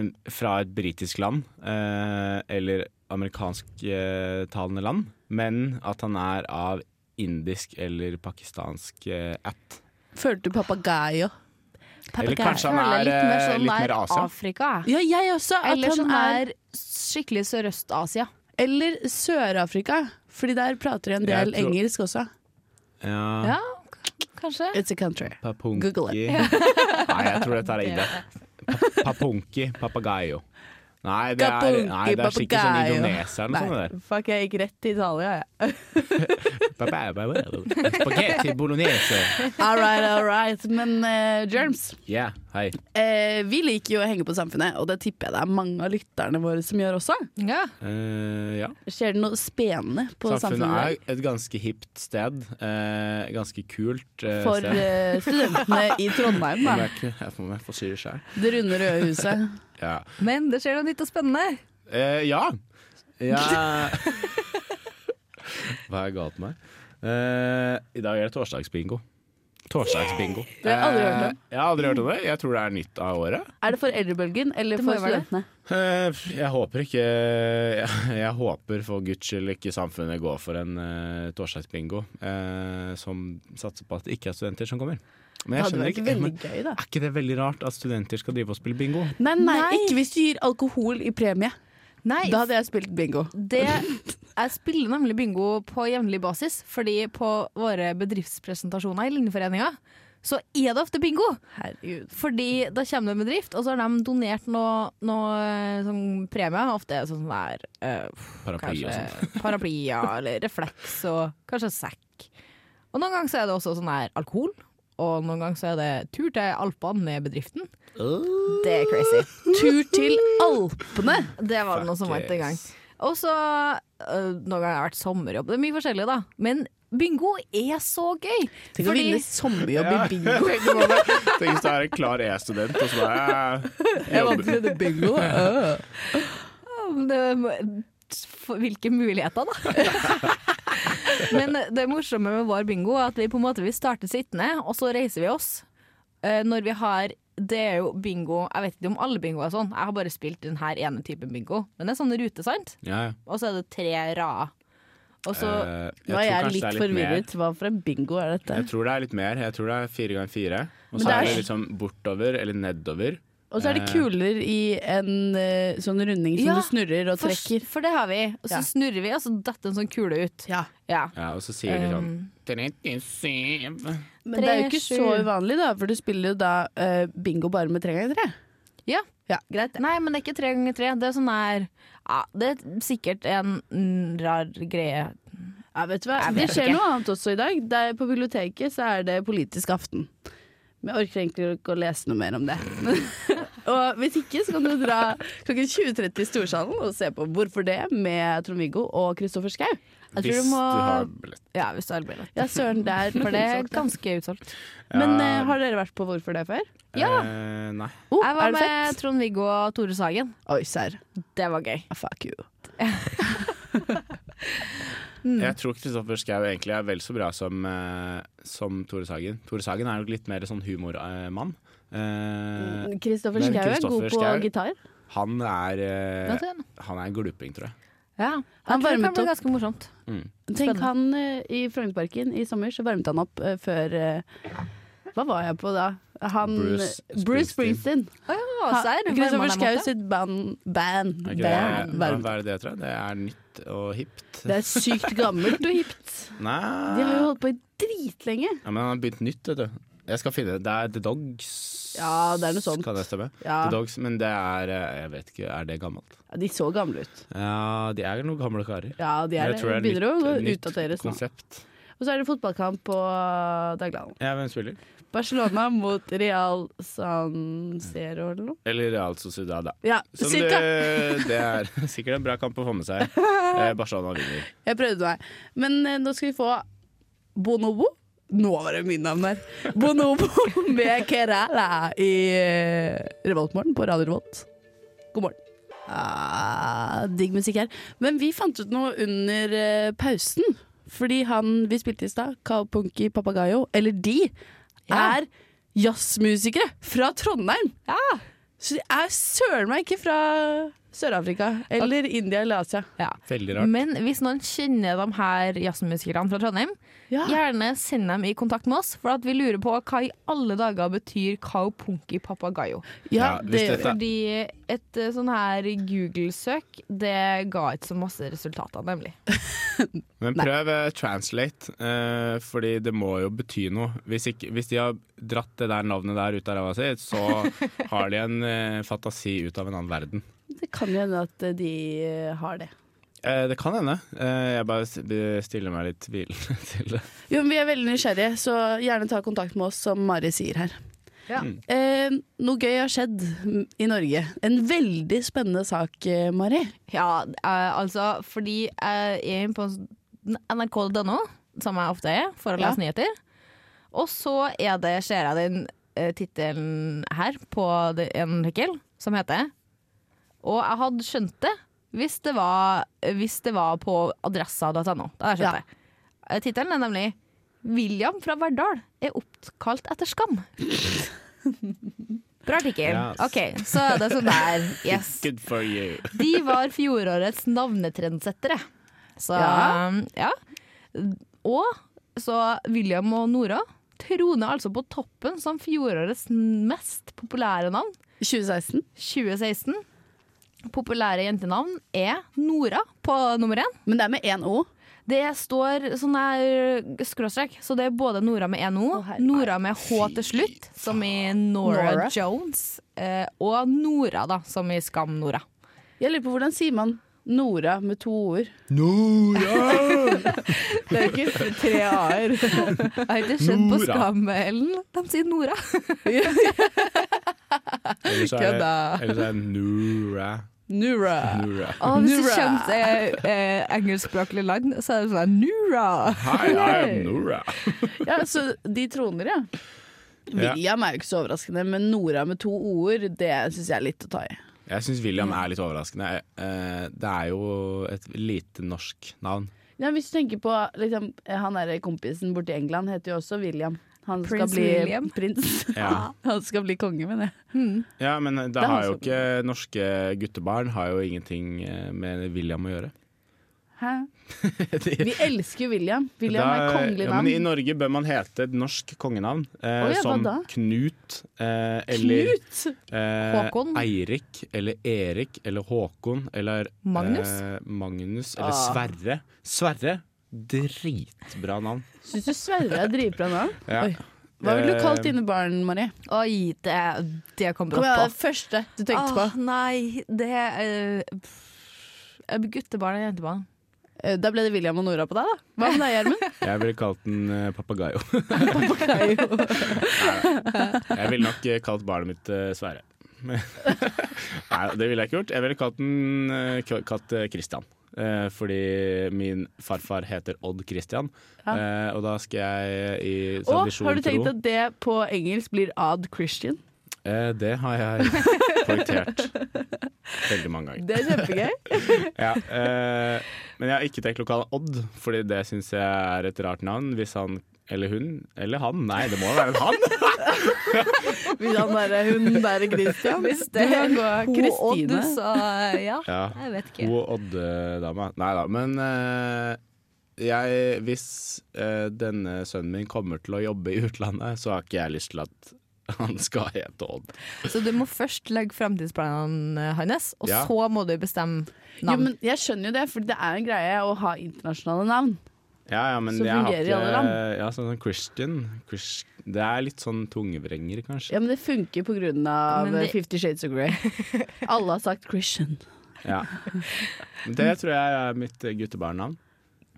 [SPEAKER 4] eh, fra et britisk land, eh, eller amerikansktalende land, men at han er av indisk eller pakistansk eh, ætt.
[SPEAKER 2] Følte du papagayo?
[SPEAKER 4] Eller kanskje han er
[SPEAKER 5] litt mer,
[SPEAKER 4] eh,
[SPEAKER 5] sånn
[SPEAKER 4] litt mer
[SPEAKER 5] der
[SPEAKER 4] Asia.
[SPEAKER 5] Afrika.
[SPEAKER 2] Ja, jeg også. At
[SPEAKER 5] Eller
[SPEAKER 2] han
[SPEAKER 5] sånn
[SPEAKER 2] er,
[SPEAKER 5] der skikkelig Sørøst-Asia.
[SPEAKER 2] eller Sør-Afrika, Fordi der prater de en
[SPEAKER 4] Jeg
[SPEAKER 2] del
[SPEAKER 4] tror-
[SPEAKER 2] engelsk også.
[SPEAKER 4] Ja.
[SPEAKER 5] Ja, k- kanskje.
[SPEAKER 2] It's a country.
[SPEAKER 4] Papunki
[SPEAKER 2] Google
[SPEAKER 4] Nei, jeg tror dette er India. Pa- Papunki papagayo. Nei, det er, nei, det er sikkert sånn
[SPEAKER 5] Kapulki,
[SPEAKER 4] Indonesia eller noe sånt.
[SPEAKER 5] Nei, fuck, jeg gikk rett til Italia, jeg.
[SPEAKER 4] der. Ba, ba, ba, ba. Spaghetti bolognese.
[SPEAKER 2] All right, all right. Men eh, Germs,
[SPEAKER 4] Ja, hei.
[SPEAKER 2] eh, vi liker jo å henge på samfunnet, og det tipper jeg det er mange av lytterne våre som gjør også.
[SPEAKER 5] Ja.
[SPEAKER 4] Eh, ja.
[SPEAKER 2] Skjer det noe spennende på samfunnet? i dag?
[SPEAKER 4] Samfunnet er et ganske hipt sted. eh, ganske kult eh,
[SPEAKER 2] For
[SPEAKER 4] sted.
[SPEAKER 2] eh, studentene i Trondheim,
[SPEAKER 4] Om
[SPEAKER 2] da.
[SPEAKER 4] jeg ikke- Jeg får meg få si det sjøl.
[SPEAKER 2] Det runde røde huset.
[SPEAKER 4] Ja.
[SPEAKER 5] Men det skjer noe nytt og spennende.
[SPEAKER 4] Eh, ja. ja. Hva er galt med meg? Eh, I dag er det torsdagsbingo. Torsdagsbingo.
[SPEAKER 2] Det har jeg aldri hørt om.
[SPEAKER 4] Eh, jeg har aldri hørt om det. Jeg tror det er nytt av året.
[SPEAKER 2] Er det for eldrebølgen eller
[SPEAKER 5] Det må
[SPEAKER 2] for
[SPEAKER 5] jo være det.
[SPEAKER 2] studentene?
[SPEAKER 4] Eh, Jeg håper ikke Jeg, jeg håper for guds skyld ikke samfunnet går for en eh, torsdagsbingo eh, som satser på at det ikke er studenter som kommer. Men
[SPEAKER 2] Det
[SPEAKER 4] jeg
[SPEAKER 2] hadde
[SPEAKER 4] skjønner
[SPEAKER 2] vært
[SPEAKER 4] ikke
[SPEAKER 2] veldig
[SPEAKER 4] men,
[SPEAKER 2] gøy, da.
[SPEAKER 4] Er ikke det veldig rart at studenter skal drive og spille bingo?
[SPEAKER 2] Nei, nei,
[SPEAKER 5] Nei.
[SPEAKER 2] ikke hvis du gir alkohol i premie.
[SPEAKER 5] Nei,
[SPEAKER 2] Da hadde jeg spilt bingo.
[SPEAKER 5] det Jeg spiller nemlig bingo på jevnlig basis, fordi på våre bedriftspresentasjoner i Linjeforeninga, så er det ofte bingo.
[SPEAKER 2] Herregud.
[SPEAKER 5] Fordi da kommer det en bedrift, og så har de donert noe, noe eh, sånn premie. Ofte er det sånn der eh,
[SPEAKER 4] Paraply og sånn.
[SPEAKER 5] kanskje paraplyer eller refleks og kanskje en sekk. Og noen ganger så er det også sånn her alkohol, og noen ganger så er det tur til Alpene med bedriften. Det er crazy.
[SPEAKER 2] Tur til Alpene!
[SPEAKER 5] Det var det noen som
[SPEAKER 4] Fuck
[SPEAKER 5] vant en gang.
[SPEAKER 4] yes.
[SPEAKER 5] Og så øh, Noen ganger har det vært sommerjobb. Det er mye forskjellig, da. Men bingo er så gøy!
[SPEAKER 2] Tenk å vinne sommerjobb i bingo.
[SPEAKER 4] Tenk om det- tenk hvis du er en klar E-student og så bare eh, jobber.
[SPEAKER 2] til bingo.
[SPEAKER 5] Ja, men det, for hvilke muligheter, da? Men det morsomme med vår bingo er at vi på en måte vi starter sittende, og så reiser vi oss. Eh, Når vi har Det er jo bingo Jeg vet ikke om alle bingo er sånn, jeg har bare spilt den her ene typen bingo. Men det er sånn rute, sant?
[SPEAKER 4] Ja, ja.
[SPEAKER 5] Og så er det tre rader. Og så
[SPEAKER 4] Eh,
[SPEAKER 2] Nå er
[SPEAKER 4] tror
[SPEAKER 2] jeg
[SPEAKER 4] kanskje det
[SPEAKER 2] litt
[SPEAKER 4] er mer.
[SPEAKER 2] forvirret. Hva for en bingo er dette?
[SPEAKER 4] Jeg tror det er litt mer. Jeg tror det er fire ganger fire. Og
[SPEAKER 2] Men
[SPEAKER 4] så
[SPEAKER 2] det er-
[SPEAKER 4] er det liksom bortover eller nedover.
[SPEAKER 2] Og så er det kuler i en eh, sånn runding som
[SPEAKER 5] Ja,
[SPEAKER 2] du snurrer og
[SPEAKER 5] for,
[SPEAKER 2] trekker.
[SPEAKER 5] for det har vi. Og så
[SPEAKER 2] Ja.
[SPEAKER 5] snurrer vi, og så detter en sånn kule ut.
[SPEAKER 2] Ja,
[SPEAKER 5] Ja.
[SPEAKER 4] Ja, og så sier de sånn
[SPEAKER 5] Um,
[SPEAKER 4] 37
[SPEAKER 2] Men det er jo
[SPEAKER 5] Tre,
[SPEAKER 2] ikke
[SPEAKER 5] sju.
[SPEAKER 2] så uvanlig, da, for du spiller jo da eh, bingo bare med tre ganger tre.
[SPEAKER 5] ja.
[SPEAKER 2] Ja, greit.
[SPEAKER 5] Nei, men det er ikke tre ganger tre. Det er sånn her ja, Det er sikkert en mm, rar greie.
[SPEAKER 2] Ja, vet du hva?
[SPEAKER 5] Jeg
[SPEAKER 2] Det
[SPEAKER 5] vet
[SPEAKER 2] skjer
[SPEAKER 5] ikke.
[SPEAKER 2] noe annet også i dag. Der på biblioteket så er det politisk aften. Men jeg orker egentlig ikke å lese noe mer om det. og hvis ikke, så kan du dra klokken 20.30 i Storsalen og se på Hvorfor det? med Trond-Viggo og Kristoffer Schau.
[SPEAKER 5] Jeg tror
[SPEAKER 4] Hvis
[SPEAKER 5] du
[SPEAKER 4] du
[SPEAKER 5] må
[SPEAKER 4] har billett.
[SPEAKER 5] Ja, hvis du har billett.
[SPEAKER 2] Ja, søren, det er
[SPEAKER 5] For det er
[SPEAKER 2] utsolgt, da.
[SPEAKER 5] ganske utsolgt.
[SPEAKER 2] Men
[SPEAKER 4] Ja.
[SPEAKER 2] eh, har dere vært på Hvorfor det før?
[SPEAKER 5] Ja.
[SPEAKER 4] Eh, nei.
[SPEAKER 2] Oh,
[SPEAKER 5] Jeg
[SPEAKER 2] er
[SPEAKER 5] var
[SPEAKER 2] det
[SPEAKER 5] med
[SPEAKER 2] fett?
[SPEAKER 5] Trond-Viggo og Tore Sagen.
[SPEAKER 2] Oi, serr.
[SPEAKER 5] Det var gøy.
[SPEAKER 2] Ah, Fuck you. Mm.
[SPEAKER 4] Jeg tror Kristoffer Schau egentlig er vel så bra som, eh, som Tore Sagen. Tore Sagen er jo litt mer sånn humormann. Eh,
[SPEAKER 2] Mm. Kristoffer
[SPEAKER 4] men
[SPEAKER 2] Schau er
[SPEAKER 4] Kristoffer
[SPEAKER 2] god på
[SPEAKER 4] Schau-
[SPEAKER 2] gitar.
[SPEAKER 4] han er eh,
[SPEAKER 5] Vet du den?
[SPEAKER 4] Han er en gluping, tror jeg.
[SPEAKER 5] Ja.
[SPEAKER 2] Han
[SPEAKER 5] Jeg tror det
[SPEAKER 2] varmet
[SPEAKER 5] kan bli
[SPEAKER 2] opp.
[SPEAKER 5] ganske morsomt.
[SPEAKER 2] Tenk han eh, i Frognerparken i sommer, så varmet han opp eh, før eh, Hva var jeg på da? Han, eh,
[SPEAKER 4] Bruce
[SPEAKER 2] Bruce
[SPEAKER 4] Springsteen.
[SPEAKER 2] Springsteen.
[SPEAKER 5] Å ja,
[SPEAKER 2] Ha-
[SPEAKER 5] serr.
[SPEAKER 2] Kristoffer Schau sitt band. band,
[SPEAKER 4] Er
[SPEAKER 2] band,
[SPEAKER 4] ikke det, hva
[SPEAKER 2] varmt.
[SPEAKER 4] hva er det det, tror jeg? Det er nytt og hipt.
[SPEAKER 2] Det er sykt gammelt og hipt.
[SPEAKER 4] Nei
[SPEAKER 2] De har jo holdt på i dritlenge.
[SPEAKER 4] ja, Men han har begynt nytt, vet du. Jeg skal finne det. er The Dogs.
[SPEAKER 2] Ja, det er noe sånt.
[SPEAKER 4] Kan det stemme?
[SPEAKER 2] Ja.
[SPEAKER 4] The Dogs, men det er eh, Jeg vet ikke, er det gammelt?
[SPEAKER 2] Ja, de så gamle ut.
[SPEAKER 4] Ja, de er noen gamle karer.
[SPEAKER 2] Ja, de er,
[SPEAKER 4] Jeg tror
[SPEAKER 2] det.
[SPEAKER 4] det er
[SPEAKER 2] begynner å gå
[SPEAKER 4] nytt-
[SPEAKER 2] utdateres
[SPEAKER 4] nytt
[SPEAKER 2] nå.
[SPEAKER 4] konsept.
[SPEAKER 2] Og så er det fotballkamp på Dagbladet.
[SPEAKER 4] Ja, hvem spiller?
[SPEAKER 2] Barcelona mot Real San Zero eller noe.
[SPEAKER 4] Eller Real Sociedad, da.
[SPEAKER 2] Ja,
[SPEAKER 4] Som
[SPEAKER 2] cirka.
[SPEAKER 4] Det, det er sikkert en bra kamp å få med seg. Eh, Barcelona vinner.
[SPEAKER 2] Jeg prøvde meg. Men eh, nå skal vi få Bonobo. Nå var det mitt navn der. Bonobo med Kerala i eh, Revoltmorgen på Radio Revolt. God morgen. Ah, digg musikk her. Men vi fant ut noe under eh, pausen. Fordi han vi spilte i stad, Kao Punky Papagayo, eller de,
[SPEAKER 5] Ja.
[SPEAKER 2] er jazzmusikere fra Trondheim.
[SPEAKER 5] Ja.
[SPEAKER 2] Så de er søren meg ikke fra Sør-Afrika eller India eller Asia.
[SPEAKER 5] Ja.
[SPEAKER 4] Veldig rart.
[SPEAKER 5] Men hvis noen kjenner de her jazzmusikerne fra Trondheim,
[SPEAKER 2] Ja.
[SPEAKER 5] Gjerne send dem i kontakt med oss, for at vi lurer på hva i alle dager betyr kao punki papagayo.
[SPEAKER 2] Ja,
[SPEAKER 4] Ja, hvis
[SPEAKER 2] det gjør vi.
[SPEAKER 4] dette-
[SPEAKER 5] Fordi et eh, sånn her Google-søk, det ga ikke så masse resultater, nemlig.
[SPEAKER 4] Men prøv eh, translate, eh, fordi det må jo bety noe. Hvis, ikke, hvis de har dratt det der navnet der ut av ræva si, så har de en eh, fantasi ut av en annen verden.
[SPEAKER 2] Det kan jo hende at eh, de har det.
[SPEAKER 4] Eh, det kan hende. Eh, jeg bare s- stiller meg litt tvilende til det.
[SPEAKER 2] Jo, men Vi er veldig nysgjerrige, så gjerne ta kontakt med oss, som Mari sier her.
[SPEAKER 5] Ja.
[SPEAKER 2] Eh, noe gøy har skjedd mm, i Norge. En veldig spennende sak, eh, Mari.
[SPEAKER 5] Ja, eh, altså fordi eh, jeg er inne på nrk.no, som jeg ofte er, for å
[SPEAKER 2] Ja.
[SPEAKER 5] lese nyheter. Og så er det, ser jeg den eh, tittelen her på det, en artikkel som heter Og jeg hadde skjønt det hvis det var, hvis det var på adressa.no. Da hadde jeg
[SPEAKER 2] Ja.
[SPEAKER 5] skjønt det. Eh, Tittelen er nemlig 'William fra Verdal er oppkalt etter skam'. Bra artikkel.
[SPEAKER 4] Yes.
[SPEAKER 5] OK, så er det sånn der. Yes.
[SPEAKER 4] Good for you.
[SPEAKER 5] De var fjorårets navnetrendsettere. Så
[SPEAKER 2] Ja.
[SPEAKER 5] um, ja. Og så William og Nora troner altså på toppen som fjorårets mest populære navn.
[SPEAKER 2] 2016.
[SPEAKER 5] 2016. Populære jentenavn er Nora på nummer én.
[SPEAKER 2] Men det er med én O.
[SPEAKER 5] Det står sånn her skråstrek, så det er både Nora med NO,
[SPEAKER 2] Å, herregud.
[SPEAKER 5] Nora med H til slutt, som i Nora,
[SPEAKER 2] Nora.
[SPEAKER 5] Jones, eh, og Nora, da, som i Skam-Nora.
[SPEAKER 2] Jeg lurer på hvordan sier man Nora med to ord.
[SPEAKER 5] Det er jo ikke tre a-er. Jeg har ikke skjønt på
[SPEAKER 4] Nora.
[SPEAKER 5] Skam, Ellen. De sier Nora.
[SPEAKER 4] Eller så er
[SPEAKER 5] Kødda.
[SPEAKER 4] eller så er det Nura.
[SPEAKER 2] Nora.
[SPEAKER 4] Nura.
[SPEAKER 5] Og hvis du
[SPEAKER 2] Nora.
[SPEAKER 5] kommer til eh, engelskspråklige land, så er det sånn Nora.
[SPEAKER 4] Hi, I am Nora.
[SPEAKER 2] Ja, så de troner, ja.
[SPEAKER 4] Ja.
[SPEAKER 2] William er jo ikke så overraskende, men Nora med to ord, det syns jeg er litt å ta i.
[SPEAKER 4] Jeg syns William er litt overraskende. Eh, Det er jo et lite norsk navn.
[SPEAKER 2] Ja, hvis du tenker på liksom, Han der kompisen borti England heter jo også William. Han skal
[SPEAKER 5] Prince
[SPEAKER 2] bli
[SPEAKER 5] William.
[SPEAKER 2] prins.
[SPEAKER 4] Ja.
[SPEAKER 2] Han skal bli konge, mener jeg.
[SPEAKER 4] Ja, men eh, da
[SPEAKER 2] er
[SPEAKER 4] har jo
[SPEAKER 2] han som-
[SPEAKER 4] ikke norske guttebarn har jo ingenting eh, med William å gjøre.
[SPEAKER 2] Hæ?
[SPEAKER 4] De-
[SPEAKER 2] Vi elsker jo William. William
[SPEAKER 4] Da- eh,
[SPEAKER 2] er kongelig
[SPEAKER 4] Ja,
[SPEAKER 2] navn.
[SPEAKER 4] men I Norge bør man hete et norsk kongenavn, eh,
[SPEAKER 2] Å ja, hva
[SPEAKER 4] som
[SPEAKER 2] da?
[SPEAKER 4] Knut eh, eller
[SPEAKER 2] Knut!
[SPEAKER 4] eh,
[SPEAKER 5] Håkon?
[SPEAKER 4] Eirik eller Erik eller Håkon eller
[SPEAKER 5] Magnus?
[SPEAKER 4] Eh, Magnus eller
[SPEAKER 2] Ah.
[SPEAKER 4] Sverre. Sverre! Dritbra navn.
[SPEAKER 2] Syns du Sverre er dritbra navn?
[SPEAKER 4] Ja.
[SPEAKER 2] Oi. Hva ville du kalt
[SPEAKER 4] Eh,
[SPEAKER 2] dine barn, Marie?
[SPEAKER 5] Oi, det, det kom
[SPEAKER 2] Kom igjen,
[SPEAKER 5] brått
[SPEAKER 2] det
[SPEAKER 5] på.
[SPEAKER 2] er det første du tenkte på.
[SPEAKER 5] Åh, nei, det eh, pff, Guttebarn eller jentebarn?
[SPEAKER 2] Eh, Da ble det William og Nora på deg, da. Hva med deg, Gjermund?
[SPEAKER 4] Jeg ville kalt den eh, papagayo.
[SPEAKER 2] Papagayo.
[SPEAKER 4] Jeg ville nok eh, kalt barnet mitt eh, Sverre. Nei, det ville jeg ikke gjort. Jeg ville kalt den eh, k- kalt eh, Christian. Eh, fordi min farfar heter Odd Christian. Eh, og da skal jeg i
[SPEAKER 2] Og
[SPEAKER 4] tradisjon
[SPEAKER 2] har du tenkt
[SPEAKER 4] tro
[SPEAKER 2] at det på engelsk blir Odd Christian?
[SPEAKER 4] eh, Det har jeg korrigert veldig mange ganger.
[SPEAKER 2] Det er kjempegøy.
[SPEAKER 4] Ja, eh, men jeg har ikke tenkt å kalle han Odd, fordi det syns jeg er et rart navn. Hvis han eller hun eller han. Nei, det må være en han!
[SPEAKER 2] Vil han være hun der Christian? Hvis det kan gå
[SPEAKER 5] Hun
[SPEAKER 2] Kristine.
[SPEAKER 5] Odd, så eh, ja.
[SPEAKER 4] Ja.
[SPEAKER 5] Jeg vet ikke.
[SPEAKER 4] God Odd-dame. Nei da, men eh, jeg, hvis eh, denne sønnen min kommer til å jobbe i utlandet, så har ikke jeg lyst til at han skal hete Odd.
[SPEAKER 5] Så du må først legge framtidsplanene hans, og
[SPEAKER 4] Ja.
[SPEAKER 5] så må du bestemme
[SPEAKER 2] Jo,
[SPEAKER 5] navn.
[SPEAKER 2] men jeg skjønner jo det, for det er en greie å ha internasjonale navn.
[SPEAKER 4] Ja, ja, men
[SPEAKER 2] Så
[SPEAKER 4] jeg har
[SPEAKER 2] fungerer i alle
[SPEAKER 4] ikke,
[SPEAKER 2] land.
[SPEAKER 4] ja, sånn, sånn Christian, Chris- Det er litt sånn tungevrenger, kanskje.
[SPEAKER 2] Ja, men det funker på grunn av
[SPEAKER 5] Men det-
[SPEAKER 2] Fifty Shades of Grey. Alle har sagt Christian.
[SPEAKER 4] Ja. Men Det tror jeg er mitt eh, guttebarnnavn.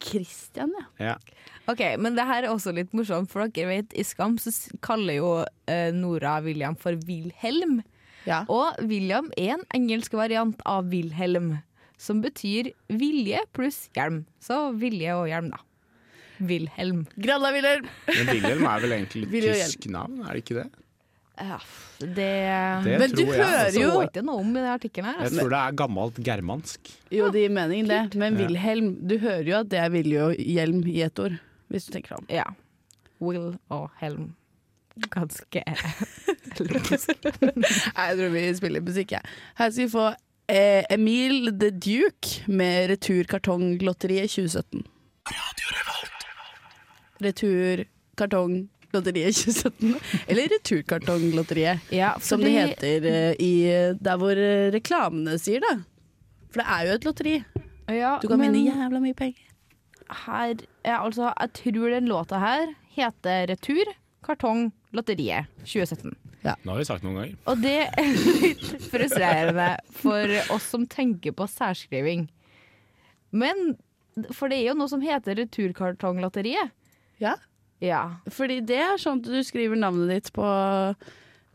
[SPEAKER 2] Christian, ja.
[SPEAKER 4] Ja.
[SPEAKER 5] Ok, men det her er også litt morsomt, for dere vet, i Skam så s- kaller jo eh, Nora William for Wilhelm.
[SPEAKER 2] Ja.
[SPEAKER 5] Og William er en engelsk variant av Wilhelm, som betyr vilje pluss hjelm. Så vilje og hjelm, da. Wilhelm.
[SPEAKER 2] Gralla, Wilhelm!
[SPEAKER 4] Men Wilhelm er vel egentlig
[SPEAKER 2] Vil jo
[SPEAKER 4] et tysk navn, er det ikke det?
[SPEAKER 5] Ja, det
[SPEAKER 4] Det
[SPEAKER 2] Men du
[SPEAKER 4] tror jeg. altså.
[SPEAKER 2] hører
[SPEAKER 5] så
[SPEAKER 2] jo
[SPEAKER 5] ikke noe om i den artikkelen her.
[SPEAKER 4] Jeg
[SPEAKER 5] Altså.
[SPEAKER 4] tror det er gammelt germansk.
[SPEAKER 2] Jo, det gir mening, det. Men
[SPEAKER 4] Ja.
[SPEAKER 2] Wilhelm, du hører jo at det er vilje og hjelm i ett ord. Hvis du tenker deg om.
[SPEAKER 5] Ja. Will og Helm. Ganske logisk.
[SPEAKER 2] Nei, jeg tror vi spiller musikk, jeg. Her skal vi få eh, Emil The Duke med Returkartonglotteriet 2017. Returkartonglotteriet 2017. Eller Returkartonglotteriet,
[SPEAKER 5] Ja,
[SPEAKER 2] som det
[SPEAKER 5] fordi-
[SPEAKER 2] heter eh, i der hvor eh, reklamene sier det. For det er jo et lotteri.
[SPEAKER 5] Ja,
[SPEAKER 2] Du kan
[SPEAKER 5] men-
[SPEAKER 2] vinne jævla mye penger.
[SPEAKER 5] her ja, altså, Jeg tror den låta her heter Retur kartong lotteriet 2017.
[SPEAKER 4] Det har vi sagt noen ganger.
[SPEAKER 5] Og det er litt frustrerende for oss som tenker på særskriving. Men for det er jo noe som heter Returkartonglotteriet.
[SPEAKER 2] Ja.
[SPEAKER 5] Ja.
[SPEAKER 2] Fordi det er sånn at du skriver navnet ditt på,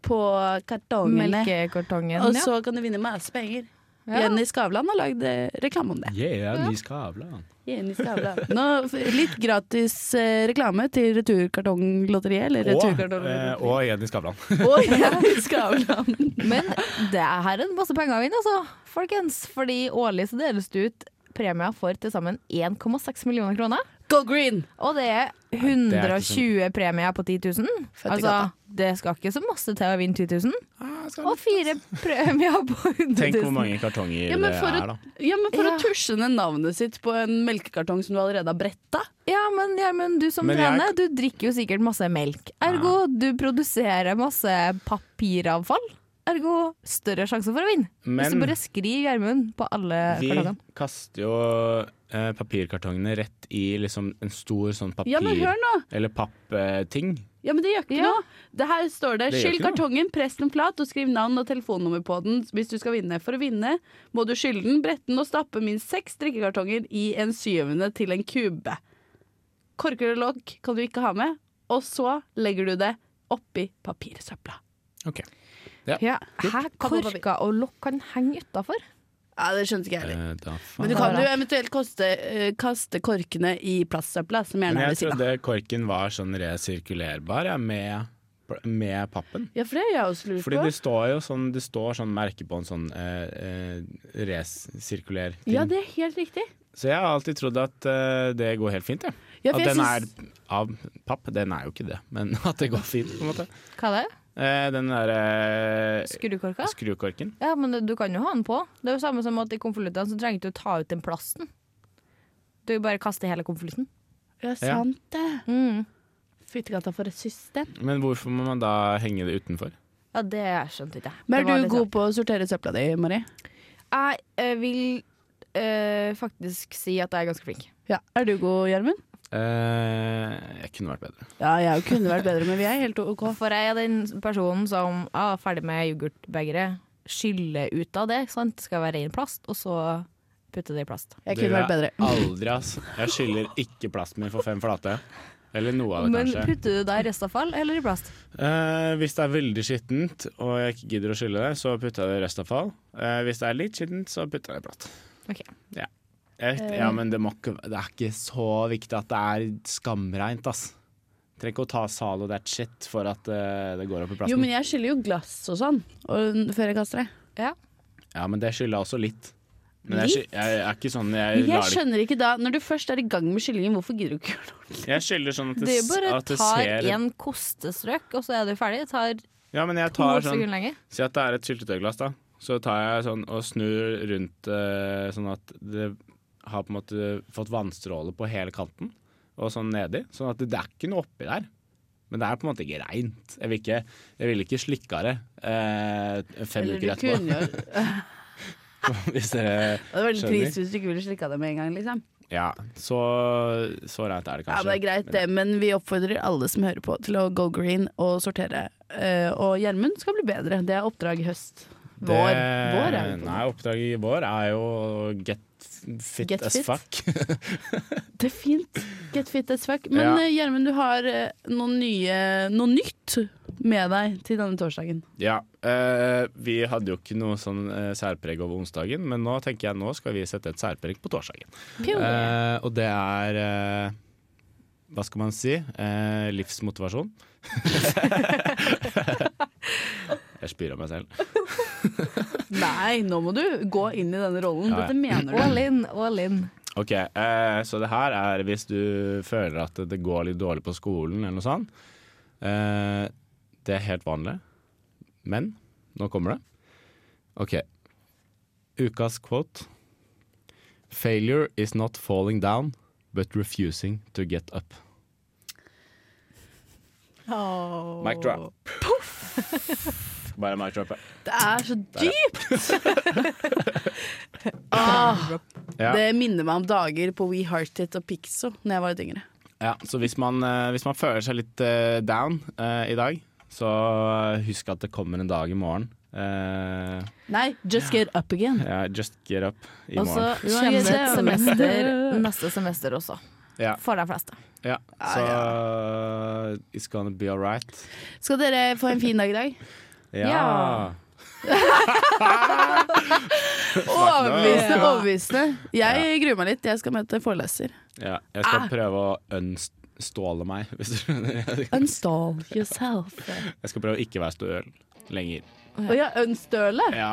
[SPEAKER 2] på kartongene.
[SPEAKER 5] Melkekartongen,
[SPEAKER 2] Og
[SPEAKER 5] ja.
[SPEAKER 2] så kan du vinne masse penger.
[SPEAKER 5] Ja.
[SPEAKER 2] Jenny Skavlan har lagd eh, reklame om det.
[SPEAKER 4] Yeah, ny skavlan.
[SPEAKER 2] Jenny Skavlan. Nå, f- litt gratis eh, reklame til Returkartonglotteriet. Eller
[SPEAKER 4] Og, eh,
[SPEAKER 2] Returkartonglotteriet.
[SPEAKER 4] og Jenny Skavlan.
[SPEAKER 2] Og Jenny Skavlan.
[SPEAKER 5] Men det er her en masse penger å vinne, altså, folkens. Fordi årlig så deles det ut premier for til sammen 1,6 millioner kroner.
[SPEAKER 2] Go green!
[SPEAKER 5] Og det er
[SPEAKER 4] det er ikke sånn.
[SPEAKER 5] 120 premier på 10 000.
[SPEAKER 2] Fett i
[SPEAKER 5] Altså,
[SPEAKER 2] gata.
[SPEAKER 5] det skal ikke så masse til å vinne 10 000. Og fire premier på 100 000.
[SPEAKER 4] Tenk hvor mange kartonger
[SPEAKER 2] Ja, men
[SPEAKER 4] det
[SPEAKER 2] for
[SPEAKER 4] er,
[SPEAKER 2] et-
[SPEAKER 4] da.
[SPEAKER 2] Ja, men for
[SPEAKER 5] Ja.
[SPEAKER 2] å tusje ned navnet sitt på en melkekartong som du allerede har bretta.
[SPEAKER 5] Ja, men, ja, men du som
[SPEAKER 4] Men jeg-
[SPEAKER 5] trener, du drikker jo sikkert masse melk. Ergo, du produserer masse papiravfall. Ergo, større sjanse for å vinne. Hvis du
[SPEAKER 4] Men
[SPEAKER 5] bare skriver Gjermund på alle
[SPEAKER 4] vi
[SPEAKER 5] kartongene.
[SPEAKER 4] kaster jo eh, papirkartongene rett i liksom en stor sånn papir...
[SPEAKER 2] Ja, men hør nå!
[SPEAKER 4] Eller pappting.
[SPEAKER 2] Ja, men det gjør ikke
[SPEAKER 5] Ja.
[SPEAKER 2] noe. Det her står det,
[SPEAKER 4] Det gjør
[SPEAKER 2] Skyll
[SPEAKER 4] ikke noe.
[SPEAKER 2] kartongen, press den flat og skriv navn og telefonnummer på den hvis du skal vinne. For å vinne må du skylle den, brette den og stappe minst seks drikkekartonger i en syvende til en kube. Korker og lokk kan du ikke ha med, og så legger du det oppi papirsøpla.
[SPEAKER 4] Ok.
[SPEAKER 5] Ja, Hæ,
[SPEAKER 2] Pappa, pappa.
[SPEAKER 5] korka og lokk kan henge utafor?
[SPEAKER 2] Ja, det skjønte ikke jeg heller.
[SPEAKER 4] Eh, da faen.
[SPEAKER 2] Men du kan jo eventuelt koste, eh, kaste korkene i plastsøpla, som
[SPEAKER 4] Men
[SPEAKER 2] gjerne er
[SPEAKER 4] jeg
[SPEAKER 2] ved siden av.
[SPEAKER 4] trodde korken var sånn resirkulerbar ja, med, med pappen.
[SPEAKER 2] Ja, for det har jeg også lurt
[SPEAKER 4] Fordi
[SPEAKER 2] på.
[SPEAKER 4] det står jo sånn, det står sånn merke på en sånn eh, eh, resirkulær ting.
[SPEAKER 2] Ja, det er helt riktig.
[SPEAKER 4] Så jeg har alltid trodd at eh, det går helt fint, jeg.
[SPEAKER 2] Ja, for
[SPEAKER 4] at
[SPEAKER 2] jeg
[SPEAKER 4] den
[SPEAKER 2] syns-
[SPEAKER 4] er av papp. Den er jo ikke det, men at det går fint, på en måte.
[SPEAKER 5] Hva er det?
[SPEAKER 4] Eh, den derre Eh,
[SPEAKER 5] Skrukorka?
[SPEAKER 4] skrukorken.
[SPEAKER 5] Ja, men du- du kan jo ha den på. Det er jo samme som at i konvoluttene så trenger du ikke å ta ut den plasten. Du bare kaster hele konvolutten.
[SPEAKER 2] Ja, sant det.
[SPEAKER 5] Mm.
[SPEAKER 2] Fyttegata for et system.
[SPEAKER 4] Men hvorfor må man da henge det utenfor?
[SPEAKER 5] Ja, det skjønte ikke jeg. Det
[SPEAKER 2] Men
[SPEAKER 5] var
[SPEAKER 2] er du
[SPEAKER 5] litt
[SPEAKER 2] god på å sortere søpla di, Mari?
[SPEAKER 5] Jeg eh, vil eh, faktisk si at jeg er ganske flink.
[SPEAKER 2] Ja. Er du god, Gjermund?
[SPEAKER 4] Eh, jeg kunne vært bedre.
[SPEAKER 2] Ja, jeg kunne vært bedre, men vi er helt OK.
[SPEAKER 5] For jeg er den personen som ah, er ferdig med yoghurtbegeret, skyller ut av det. ikke Sant? Det skal være ren plast, og så putte det i plast.
[SPEAKER 2] Jeg kunne
[SPEAKER 4] Dere
[SPEAKER 2] vært bedre.
[SPEAKER 4] Aldri, ass. Jeg skylder ikke plasten min for fem flate. Eller noe av det,
[SPEAKER 5] Men
[SPEAKER 4] kanskje.
[SPEAKER 5] putter du da i restavfall eller i plast?
[SPEAKER 4] Eh, hvis det er veldig skittent og jeg ikke gidder å skylle det, så putter jeg det i restavfall. Eh, hvis det er litt skittent, så putter jeg det i plast.
[SPEAKER 5] Ok.
[SPEAKER 4] Ja. Jeg vet, ja, men det, må ikke, det er ikke så viktig at det er skamreint, ass. Trenger ikke å ta Zalo that shit for at eh, det går opp i plasten.
[SPEAKER 2] Jo, men jeg skyller jo glass og sånn og, før jeg kaster det.
[SPEAKER 4] Ja, men det skylder jeg også litt. Men jeg, sky- jeg, jeg er ikke sånn Jeg,
[SPEAKER 2] Men jeg
[SPEAKER 4] lar det
[SPEAKER 2] skjønner ikke da, når du først er i gang med skyllingen, hvorfor gidder du ikke gjøre noe?
[SPEAKER 4] ikke Jeg skylder sånn at
[SPEAKER 5] Du
[SPEAKER 4] det, s-
[SPEAKER 5] bare
[SPEAKER 4] at det
[SPEAKER 5] tar
[SPEAKER 4] ser
[SPEAKER 5] én kostestrøk, og så er du ferdig. Det tar
[SPEAKER 4] Ja, men jeg
[SPEAKER 5] to
[SPEAKER 4] tar sånn
[SPEAKER 5] sekunder lenger.
[SPEAKER 4] Si at det er et syltetøyglass, da. Så tar jeg sånn og snur rundt eh, sånn at det har på en måte fått vannstråle på hele kanten, og sånn nedi. Sånn at det, det er ikke noe oppi der. Men det er på en måte ikke reint. Jeg vil ikke, jeg vil ikke slikke av det eh, fem
[SPEAKER 2] Eller
[SPEAKER 4] uker
[SPEAKER 2] du
[SPEAKER 4] etterpå.
[SPEAKER 2] kunne jo
[SPEAKER 4] Hvis dere
[SPEAKER 2] Det var veldig
[SPEAKER 4] Skjønner.
[SPEAKER 2] trist hvis du ikke ville slikka det med en gang, liksom.
[SPEAKER 4] Ja, så, så reint er det kanskje.
[SPEAKER 2] Ja, men det er greit det, men vi oppfordrer alle som hører på til å go green og sortere. Eh, og Gjermund skal bli bedre. Det er oppdrag i høst.
[SPEAKER 4] Det-
[SPEAKER 2] Vår. Vår er vi på.
[SPEAKER 4] Nei, oppdraget i vår er jo get fit
[SPEAKER 2] Get
[SPEAKER 4] as
[SPEAKER 2] fit.
[SPEAKER 4] fuck.
[SPEAKER 2] Det er fint. Get fit as fuck. Men
[SPEAKER 4] Ja.
[SPEAKER 2] eh, Gjermund, du har eh, noe, nye, noe nytt med deg til denne torsdagen.
[SPEAKER 4] Ja, eh, vi hadde jo ikke noe sånn eh, særpreg over onsdagen, men nå tenker jeg nå skal vi sette et særpreg på torsdagen. Eh, og det er eh, Hva skal man si? Eh, livsmotivasjon. jeg spyr av meg selv.
[SPEAKER 2] Nei, nå må du gå inn i denne rollen.
[SPEAKER 4] Ja, ja.
[SPEAKER 2] Dette mener du.
[SPEAKER 5] All in, all in.
[SPEAKER 4] Ok, eh, Så det her er hvis du føler at det går litt dårlig på skolen eller noe sånt. Eh, det er helt vanlig. Men nå kommer det. Ok. Ukas quote. Failure is not falling down, but refusing to get up. Mic drop. Bare mic drop. ja.
[SPEAKER 2] Det er så dypt! ah,
[SPEAKER 4] Ja.
[SPEAKER 2] det minner meg om dager på We Heart It og Pixo Når jeg var litt yngre.
[SPEAKER 4] Ja, så hvis man, eh, hvis man føler seg litt eh, down eh, i dag, så eh, husk at det kommer en dag i morgen. Eh,
[SPEAKER 2] Nei, just get up again.
[SPEAKER 4] ja, just get up i
[SPEAKER 5] Og så
[SPEAKER 4] morgen.
[SPEAKER 5] kommer det et semester neste semester også.
[SPEAKER 4] Ja.
[SPEAKER 5] For de fleste.
[SPEAKER 4] Ja, så eh, it's gonna be alright.
[SPEAKER 2] Skal dere få en fin dag i dag?
[SPEAKER 4] Ja.
[SPEAKER 2] Overbevisende. overbevisende Jeg gruer meg litt. Jeg skal møte foreleser.
[SPEAKER 4] ja. Jeg skal prøve å unståle meg, hvis du skjønner. Jeg
[SPEAKER 2] Unstall yourself.
[SPEAKER 4] skal prøve å ikke være støl lenger.
[SPEAKER 2] Å ja, unstøle?
[SPEAKER 4] Ja.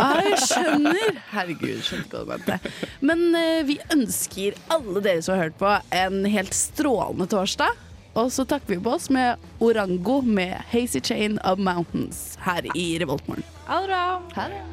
[SPEAKER 2] Ah, jeg skjønner. Herregud, skjønte ikke hva du mente. Men eh, vi ønsker alle dere som har hørt på, en helt strålende torsdag. Og så takker vi på oss med Orango med Hazy Chain of Mountains her i Revoltmorgen.
[SPEAKER 5] Ha det bra.